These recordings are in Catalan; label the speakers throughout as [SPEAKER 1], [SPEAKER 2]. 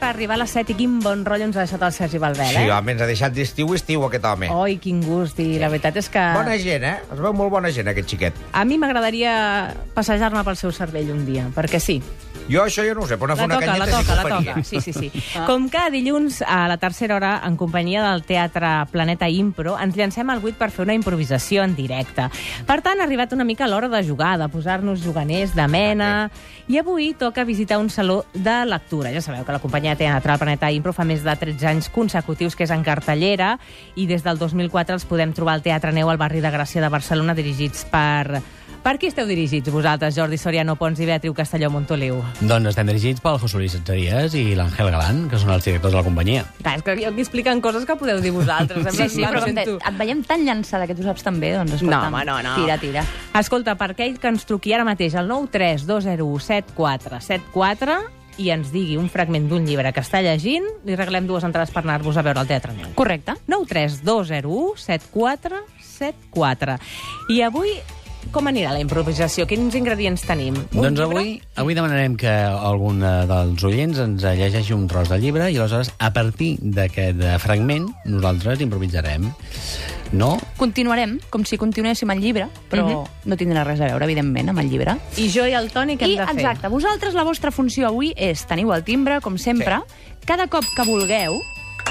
[SPEAKER 1] per arribar a les 7 i quin bon rotllo ens ha deixat el Sergi Balbel,
[SPEAKER 2] Sí,
[SPEAKER 1] eh?
[SPEAKER 2] home, ens ha deixat d'estiu, estiu, aquest home.
[SPEAKER 1] Oi, quin gust, i la veritat és que...
[SPEAKER 2] Bona gent, eh? Es veu molt bona gent, aquest xiquet.
[SPEAKER 1] A mi m'agradaria passejar-me pel seu cervell un dia, perquè sí.
[SPEAKER 2] Jo això jo no ho sé, però anar a
[SPEAKER 1] La
[SPEAKER 2] fer
[SPEAKER 1] toca,
[SPEAKER 2] una
[SPEAKER 1] la
[SPEAKER 2] canyeta sí
[SPEAKER 1] toca,
[SPEAKER 2] que
[SPEAKER 1] la
[SPEAKER 2] ho faria. Ah.
[SPEAKER 1] toca. Sí, sí, sí. Com cada dilluns, a la tercera hora, en companyia del Teatre Planeta Impro, ens llancem al buit per fer una improvisació en directe. Per tant, ha arribat una mica l'hora de jugar, de posar-nos juganers, de mena... I avui toca visitar un saló de lectura. Ja sabeu que la companyia teatral Planeta Impro fa més de 13 anys consecutius que és en cartellera i des del 2004 els podem trobar al Teatre Neu al barri de Gràcia de Barcelona dirigits per... Per qui esteu dirigits vosaltres, Jordi Soriano Pons i Beatriu Castelló Montoliu?
[SPEAKER 3] Doncs estem dirigits pel José Luis Arias i l'Àngel Galán, que són els directors de la companyia.
[SPEAKER 1] Clar, és que aquí expliquen coses que podeu dir vosaltres.
[SPEAKER 4] Sí, sí, però et, et veiem tan llançada que tu saps també, doncs escolta'm.
[SPEAKER 1] home, no, no.
[SPEAKER 4] Tira, tira.
[SPEAKER 1] Escolta, per aquell que ens truqui ara mateix al 932017474 i ens digui un fragment d'un llibre que està llegint, li regalem dues entrades per anar-vos a veure al Teatre Neu.
[SPEAKER 4] Correcte.
[SPEAKER 1] 932017474. I avui, com anirà la improvisació? Quins ingredients tenim? Un
[SPEAKER 3] doncs
[SPEAKER 1] llibre?
[SPEAKER 3] avui, avui demanarem que algun eh, dels oients ens llegeixi un tros de llibre i aleshores, a partir d'aquest eh, fragment, nosaltres improvisarem. No?
[SPEAKER 4] Continuarem, com si continuéssim el llibre, però no tindrà res a veure, evidentment, amb el llibre.
[SPEAKER 1] I jo i el Toni Mhm. què
[SPEAKER 4] I,
[SPEAKER 1] hem de fer?
[SPEAKER 4] exacte, vosaltres la vostra funció avui és, teniu el timbre, com sempre, cada cop que vulgueu,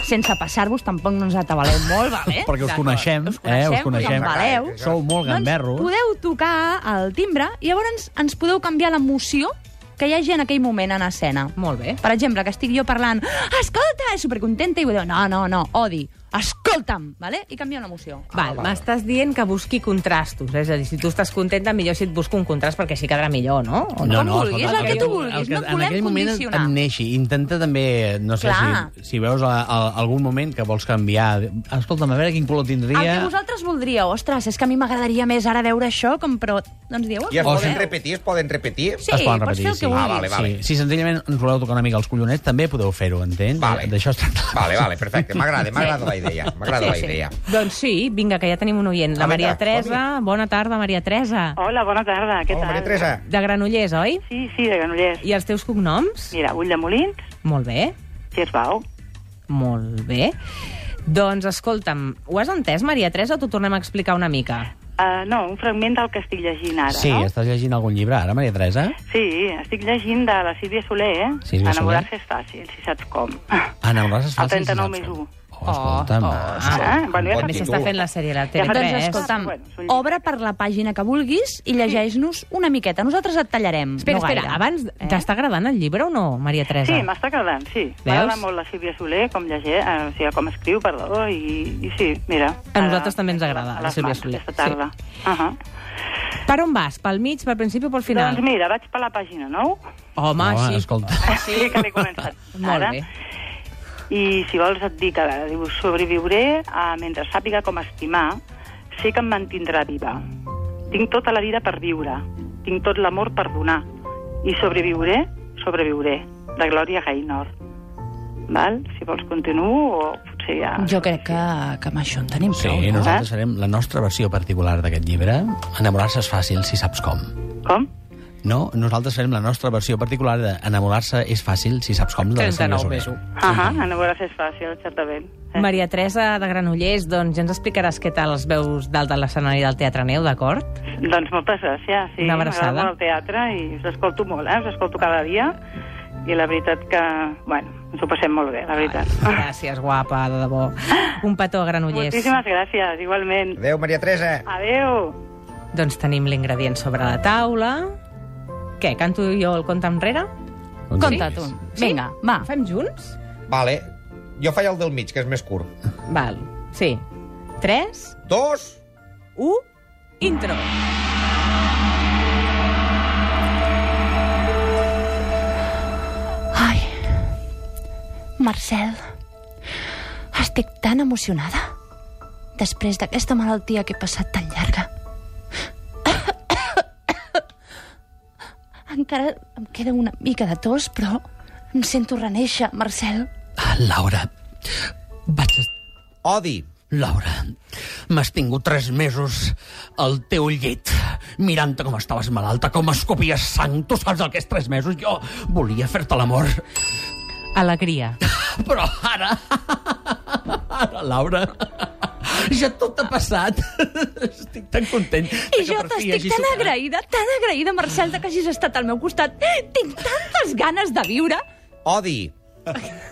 [SPEAKER 4] sense passar-vos, tampoc no ens atabaleu molt, vale?
[SPEAKER 3] Perquè us
[SPEAKER 1] D'acord.
[SPEAKER 3] coneixem,
[SPEAKER 4] Us coneixem,
[SPEAKER 3] eh?
[SPEAKER 4] Doncs
[SPEAKER 3] Us coneixem.
[SPEAKER 4] us embaleu.
[SPEAKER 3] Sou molt gamberros.
[SPEAKER 4] Doncs podeu tocar el timbre i llavors ens podeu canviar l'emoció que hi hagi en aquell moment en escena.
[SPEAKER 1] Molt bé.
[SPEAKER 4] Eh? Per exemple, que estic jo parlant escolta, supercontenta, i podeu, no, no, no, odi, escolta'm, vale? i canvia una emoció.
[SPEAKER 1] Val, m'estàs dient que busqui contrastos, eh? és a dir, si tu estàs contenta, millor si et busco un contrast perquè així quedarà millor, no? O
[SPEAKER 4] Com vulguis,
[SPEAKER 3] escolta,
[SPEAKER 4] el que tu vulguis,
[SPEAKER 3] el que
[SPEAKER 4] no et
[SPEAKER 3] En
[SPEAKER 4] volem
[SPEAKER 3] aquell moment et,
[SPEAKER 4] condicionar.
[SPEAKER 3] et neixi. Intenta també, no sé,
[SPEAKER 4] Clar.
[SPEAKER 3] si, si veus a, a, algun moment que vols canviar... Escolta'm, a veure quin color
[SPEAKER 4] El que
[SPEAKER 3] tindria...
[SPEAKER 4] vosaltres voldríeu, ostres, és que a mi m'agradaria més ara veure això, com però... Doncs dieu,
[SPEAKER 2] I es poden
[SPEAKER 4] voleu.
[SPEAKER 2] repetir, es poden repetir?
[SPEAKER 4] Sí,
[SPEAKER 3] es poden
[SPEAKER 4] pots
[SPEAKER 3] repetir,
[SPEAKER 4] fer el que
[SPEAKER 3] sí.
[SPEAKER 4] vulguis.
[SPEAKER 2] Ah, vale, vale.
[SPEAKER 3] Sí, si senzillament ens voleu tocar una mica els collonets, també podeu fer-ho, entens?
[SPEAKER 2] Vale.
[SPEAKER 3] D'això es tracta.
[SPEAKER 2] Vale, vale, perfecte. M'agrada, m'agrada la idea. M'agrada
[SPEAKER 4] Sí,
[SPEAKER 2] la
[SPEAKER 4] sí.
[SPEAKER 2] idea.
[SPEAKER 1] Doncs sí, vinga, que ja tenim un oient. La
[SPEAKER 2] Ah,
[SPEAKER 1] Maria
[SPEAKER 2] vinga,
[SPEAKER 1] Teresa. Bona tarda, Maria Teresa.
[SPEAKER 5] Hola, bona tarda, què
[SPEAKER 2] Oh,
[SPEAKER 5] tal?
[SPEAKER 2] Maria Teresa,
[SPEAKER 1] De Granollers, oi?
[SPEAKER 5] Sí, sí, de Granollers.
[SPEAKER 1] I els teus cognoms?
[SPEAKER 5] Mira, Ull de Molins,
[SPEAKER 1] Molt bé,
[SPEAKER 5] Gerbau.
[SPEAKER 1] molt bé. Doncs escolta'm, ho has entès, Maria Teresa, o t'ho tornem a explicar una mica?
[SPEAKER 5] Uh, no, un fragment del que estic llegint ara,
[SPEAKER 3] Sí,
[SPEAKER 5] no?
[SPEAKER 3] estàs llegint algun llibre ara, Maria Teresa?
[SPEAKER 5] Sí, estic llegint de la Sílvia Soler, eh?
[SPEAKER 3] Sílvia Soler. Ah,
[SPEAKER 5] Enamorar-se és fàcil, si saps com.
[SPEAKER 3] Enamoraràs es
[SPEAKER 5] El 39 més 1.
[SPEAKER 3] Oh, escolta'm.
[SPEAKER 1] oh,
[SPEAKER 5] Ah, bueno,
[SPEAKER 3] bon
[SPEAKER 5] ja s'ha
[SPEAKER 1] També
[SPEAKER 5] Sí,
[SPEAKER 1] s'està
[SPEAKER 5] tu.
[SPEAKER 1] fent la sèrie a la
[SPEAKER 5] Ja fa-
[SPEAKER 1] TV3.
[SPEAKER 4] Doncs escolta'm,
[SPEAKER 5] Bueno, és un llibre.
[SPEAKER 4] obre per la pàgina que vulguis i llegeix-nos una miqueta. Nosaltres et tallarem.
[SPEAKER 1] Espera,
[SPEAKER 4] no
[SPEAKER 1] espera,
[SPEAKER 4] gaire.
[SPEAKER 1] abans, t'està agradant el llibre o no, Maria Teresa?
[SPEAKER 5] Sí, m'està agradant, sí. M'agrada molt la Sílvia Soler, com llegeix, eh, o sigui, com escriu, perdó, i, i sí, mira.
[SPEAKER 1] A
[SPEAKER 5] ara-
[SPEAKER 1] nosaltres també ens agrada,
[SPEAKER 5] a
[SPEAKER 1] la
[SPEAKER 5] les
[SPEAKER 1] Sílvia
[SPEAKER 5] mans,
[SPEAKER 1] Soler,
[SPEAKER 5] Aquesta tarda. Uh -huh.
[SPEAKER 1] Per on vas? Pel mig, pel principi o pel final?
[SPEAKER 5] Doncs mira, vaig per la pàgina 9.
[SPEAKER 1] Home,
[SPEAKER 3] Home,
[SPEAKER 1] sí.
[SPEAKER 3] escolta.
[SPEAKER 5] Sí, que l'he començat.
[SPEAKER 1] Molt bé.
[SPEAKER 5] I si vols et dic, a veure, diu, sobreviuré a, mentre sàpiga com estimar, sé que em mantindrà viva. Tinc tota la vida per viure, tinc tot l'amor per donar, i sobreviuré, sobreviuré, de Glòria Gaynor. Val? Si vols continuo, o potser ja...
[SPEAKER 4] Jo crec que, que amb això en tenim
[SPEAKER 3] Sí,
[SPEAKER 4] prou. Oh, No?
[SPEAKER 3] nosaltres farem la nostra versió particular d'aquest llibre. Enamorar-se és fàcil si saps com.
[SPEAKER 5] Com?
[SPEAKER 3] No, nosaltres farem la nostra versió particular de enamorar-se és fàcil si saps com. de la Sílvia
[SPEAKER 1] 39
[SPEAKER 3] Soler.
[SPEAKER 1] més u.
[SPEAKER 5] Ahà, a veure si és fàcil, certament. Eh?
[SPEAKER 1] Maria Teresa de Granollers, doncs ja ens explicaràs què tal els veus dalt de l'escenari del Teatre Neu, d'acord?
[SPEAKER 5] Doncs moltes gràcies. Sí,
[SPEAKER 1] Una abraçada.
[SPEAKER 5] M'agrada molt el teatre i us escolto molt, eh? Us escolto cada dia i la veritat que, bueno, ens ho passem molt bé, la veritat.
[SPEAKER 1] Gràcies, guapa, de debò. Un petó a Granollers.
[SPEAKER 5] Moltíssimes gràcies, igualment.
[SPEAKER 2] adeu, Maria Teresa.
[SPEAKER 5] Adeu.
[SPEAKER 1] Doncs tenim l'ingredient sobre la taula. Què, canto jo el conte enrere?
[SPEAKER 3] Doncs
[SPEAKER 4] Conta
[SPEAKER 3] sí.
[SPEAKER 4] tu. Vinga, va.
[SPEAKER 1] Ho fem junts?
[SPEAKER 2] Vale. Jo faig el del mig, que és més curt.
[SPEAKER 1] Val, sí. 3,
[SPEAKER 2] Dos,
[SPEAKER 1] 1, intro.
[SPEAKER 4] Ai, Marcel, estic tan emocionada després d'aquesta malaltia que he passat tan llarga. Encara em queda una mica de tos, però em sento reneixer, Marcel.
[SPEAKER 3] Ah, Laura, vaig... est-
[SPEAKER 2] odi.
[SPEAKER 3] Laura, m'has tingut tres mesos al teu llit, mirant-te com estaves malalta, com escopies sang. Tu saps el que és tres mesos? Jo volia fer-te l'amor.
[SPEAKER 1] Alegria.
[SPEAKER 3] Però ara... Ara, Laura... Ja tot ha passat. Estic tan content.
[SPEAKER 4] I jo t'estic tan agraïda, tan agraïda, Marcel, de que hagis estat al meu costat. Tinc tantes ganes de viure,
[SPEAKER 2] Odi.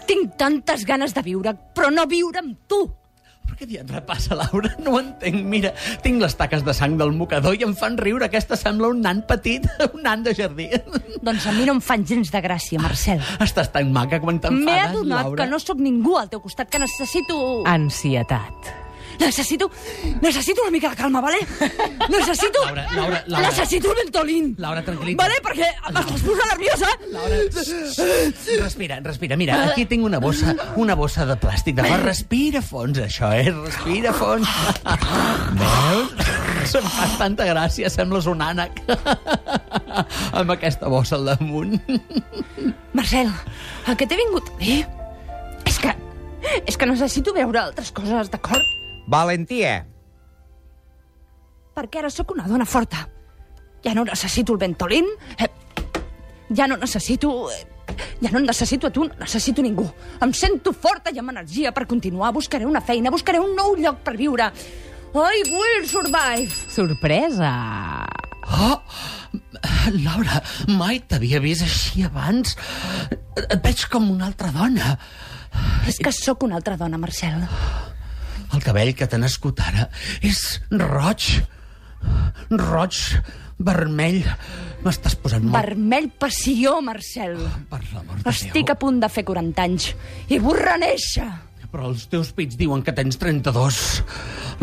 [SPEAKER 4] tinc tantes ganes de viure, però no viure amb tu.
[SPEAKER 3] Per què diatre passa, Laura? No ho entenc. Mira, tinc les taques de sang del mocador i em fan riure. Aquesta sembla un nan petit, un nan de jardí.
[SPEAKER 4] Doncs a mi no em fan gens de gràcia, Marcel.
[SPEAKER 3] Estàs tan maca quan
[SPEAKER 4] M'he
[SPEAKER 3] t'enfades,
[SPEAKER 4] adonat
[SPEAKER 3] Laura. Ah.
[SPEAKER 4] que no sóc ningú al teu costat, que necessito...
[SPEAKER 1] Ansietat.
[SPEAKER 4] Necessito... Necessito una mica de calma, vale? Necessito...
[SPEAKER 3] Laura, Laura, Laura.
[SPEAKER 4] Necessito un mentolín.
[SPEAKER 3] Laura, tranquil·litza.
[SPEAKER 4] Vale, perquè m'estàs posant nerviosa.
[SPEAKER 3] Laura, respira, respira. Mira, aquí tinc una bossa, una bossa de plàstic. De... fons. Respira fons, això, eh? Respira fons. Veus? Em fa tanta gràcia, sembles un ànec. Amb aquesta bossa al damunt.
[SPEAKER 4] Marcel, el que t'he vingut a dir és que... És que necessito veure altres coses, d'acord?
[SPEAKER 2] Valentia.
[SPEAKER 4] perquè ara sóc una dona forta. Ja no necessito el ventolín, eh, ja no necessito... Eh, ja no necessito a tu, no necessito ningú. Em sento forta i amb energia per continuar. Buscaré una feina, buscaré un nou lloc per viure. I will survive.
[SPEAKER 1] Sorpresa.
[SPEAKER 3] Oh! Laura, mai t'havia vist així abans. Et veig com una altra dona.
[SPEAKER 4] És que sóc una altra dona, Marcel.
[SPEAKER 3] El cabell que t'ha nascut ara és roig. Roig, vermell. M'estàs posant molt...
[SPEAKER 4] Vermell passió, Marcel.
[SPEAKER 3] Per l'amor de
[SPEAKER 4] Estic a
[SPEAKER 3] Déu.
[SPEAKER 4] punt de fer 40 anys i vull reneixer.
[SPEAKER 3] Però els teus pits diuen que tens 32.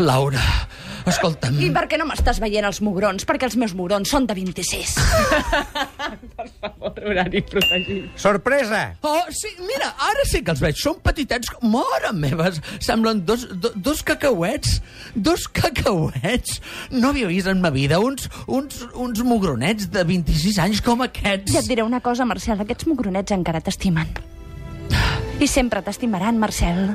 [SPEAKER 3] Laura, escolta'm...
[SPEAKER 4] I per què no m'estàs veient els mugrons? Perquè els meus mugrons són de 26.
[SPEAKER 1] Horari protegit.
[SPEAKER 2] Sorpresa.
[SPEAKER 3] Oh, sí, mira, ara sí que els veig. Són petitets, com- mare meves. Semblen dos, do, dos cacauets. Dos cacauets. No havia vist en ma vida uns, uns, uns mugronets de 26 anys com aquests.
[SPEAKER 4] Ja et diré una cosa, Marcel, aquests mugronets encara t'estimen. I sempre t'estimaran, Marcel.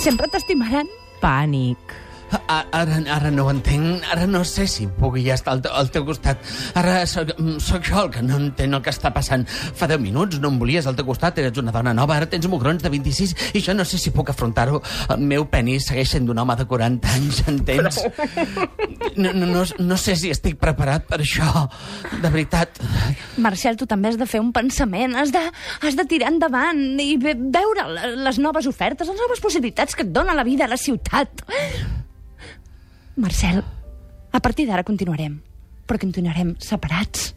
[SPEAKER 4] Sempre t'estimaran.
[SPEAKER 1] Pànic.
[SPEAKER 3] A- Ara, ara no ho entenc, ara no sé si pugui ja estar al, te- al teu costat. Ara sóc, mm, sóc jo el que no entén el que està passant. Fa 10 minuts no em volies al teu costat, eres una dona nova, ara tens mugrons de 26 i jo no sé si puc afrontar-ho. El meu penis segueix sent d'un home de 40 anys, entens? No, no, no, no sé si estic preparat per això, de veritat.
[SPEAKER 4] Marcel, tu també has de fer un pensament, has de, has de tirar endavant i ve- veure le- les noves ofertes, les noves possibilitats que et dona la vida a la ciutat. Marcel, a partir d'ara continuarem, però continuarem separats.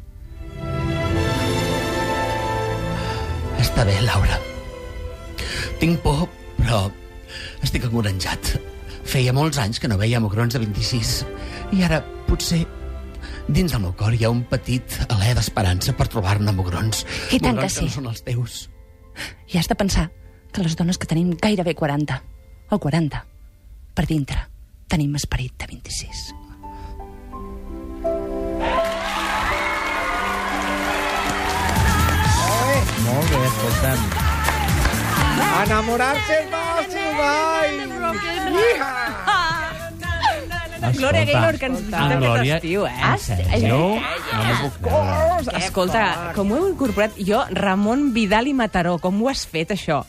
[SPEAKER 3] Està bé, Laura. Tinc por, però estic engoranjat. Feia molts anys que no veia mugrons de 26. I ara, potser, dins del meu cor hi ha un petit alè d'esperança per trobar-ne mugrons.
[SPEAKER 4] I tant
[SPEAKER 3] mugrons no
[SPEAKER 4] que sí.
[SPEAKER 3] són els teus.
[SPEAKER 4] I has de pensar que les dones que tenim gairebé 40, o 40, per dintre, tenim esperit de 26.
[SPEAKER 3] Molt bé, escolta'm.
[SPEAKER 2] Enamorar-se és fàcil, vai!
[SPEAKER 1] Gloria Gaynor, que ens visita
[SPEAKER 3] Escolta.
[SPEAKER 1] aquest
[SPEAKER 3] Gloria-
[SPEAKER 1] estiu, eh?
[SPEAKER 4] Ah, sí?
[SPEAKER 3] No, no m'ho puc creure.
[SPEAKER 1] Escolta, com ho heu incorporat jo, Ramon Vidal i Mataró, com ho has fet, això?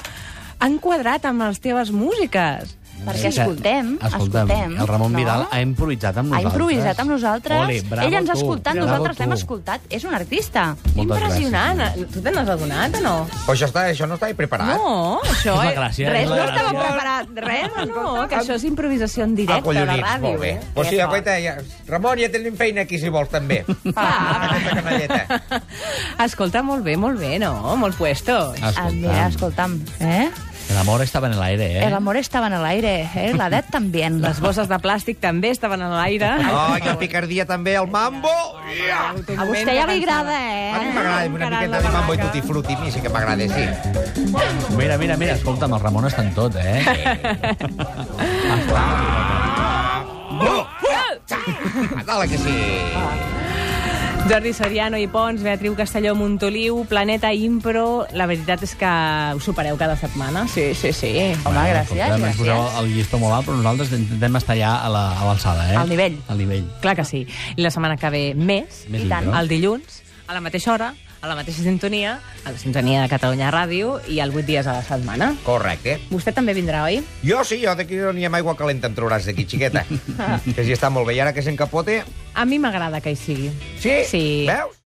[SPEAKER 1] Han quadrat amb les teves músiques.
[SPEAKER 4] Perquè escoltem,
[SPEAKER 3] Escolta'm,
[SPEAKER 4] escoltem,
[SPEAKER 3] el Ramon
[SPEAKER 4] no?
[SPEAKER 3] Vidal ha improvisat amb
[SPEAKER 4] Ha
[SPEAKER 3] nosaltres.
[SPEAKER 4] improvisat amb nosaltres.
[SPEAKER 3] Ole, bravo
[SPEAKER 4] Ell ens ha
[SPEAKER 3] tu,
[SPEAKER 4] escoltat,
[SPEAKER 3] bravo
[SPEAKER 4] nosaltres
[SPEAKER 3] tu.
[SPEAKER 4] l'hem escoltat. És un artista.
[SPEAKER 3] Moltes
[SPEAKER 1] Impressionant. Tu te n'has adonat o no?
[SPEAKER 2] Però això, està, això no està preparat.
[SPEAKER 1] No, això...
[SPEAKER 3] És la gràcia,
[SPEAKER 1] Res
[SPEAKER 3] és la
[SPEAKER 1] no estava
[SPEAKER 3] gràcia.
[SPEAKER 1] preparat. Res, no, que això és improvisació en
[SPEAKER 2] Ah,
[SPEAKER 1] directe a la
[SPEAKER 2] collonits,
[SPEAKER 1] ràdio.
[SPEAKER 2] molt bé.
[SPEAKER 1] eh?
[SPEAKER 2] Pues sí,
[SPEAKER 1] Que fort.
[SPEAKER 2] aguaita, ja... Ramon, ja tenim feina aquí, si vols, també.
[SPEAKER 1] Ah.
[SPEAKER 2] Aquesta canalleta.
[SPEAKER 1] Escolta, molt bé, molt bé, no? Molt puesto.
[SPEAKER 4] Ah, mira, escolta'm, eh?
[SPEAKER 3] El amor estava en l'aire, eh?
[SPEAKER 4] El amor estaba en el aire, eh? La edat també.
[SPEAKER 1] Les bosses de plàstic també estaven en l'aire.
[SPEAKER 2] Oh, i la picardia també, el mambo. Yeah.
[SPEAKER 4] A vostè ja li agrada,
[SPEAKER 2] A mi
[SPEAKER 4] eh?
[SPEAKER 2] m'agrada una miqueta de mambo i tutti frutti, a mi sí que m'agrada, sí.
[SPEAKER 3] Mira, mira, mira, escolta'm, el Ramon està en tot, eh?
[SPEAKER 2] Ah, Dala que sí.
[SPEAKER 1] Jordi Soriano i Pons, Beatriu Castelló, Montoliu, Planeta Impro... La veritat és que ho supereu cada setmana. Sí, sí, sí.
[SPEAKER 4] Home, gràcies,
[SPEAKER 3] Escolta'm, ens
[SPEAKER 4] gràcies.
[SPEAKER 3] Poseu el llistó molt alt, però nosaltres intentem estar ja a la- a l'alçada, eh?
[SPEAKER 4] Al nivell.
[SPEAKER 3] Al nivell.
[SPEAKER 1] Clar que sí. I la setmana que ve més,
[SPEAKER 3] Més
[SPEAKER 4] I tant.
[SPEAKER 3] impro.
[SPEAKER 1] el dilluns, a la mateixa hora, a la mateixa sintonia, a la sintonia de Catalunya Ràdio i al 8 dies a la setmana.
[SPEAKER 2] Correcte. eh?
[SPEAKER 1] Vostè també vindrà, oi?
[SPEAKER 2] Jo sí, jo d'aquí on hi ha aigua calenta em trauràs d'aquí, xiqueta. que si està molt bé. I ara que s'encapote...
[SPEAKER 1] A mi m'agrada que hi sigui.
[SPEAKER 2] Sí?
[SPEAKER 1] Sí.
[SPEAKER 2] Veus?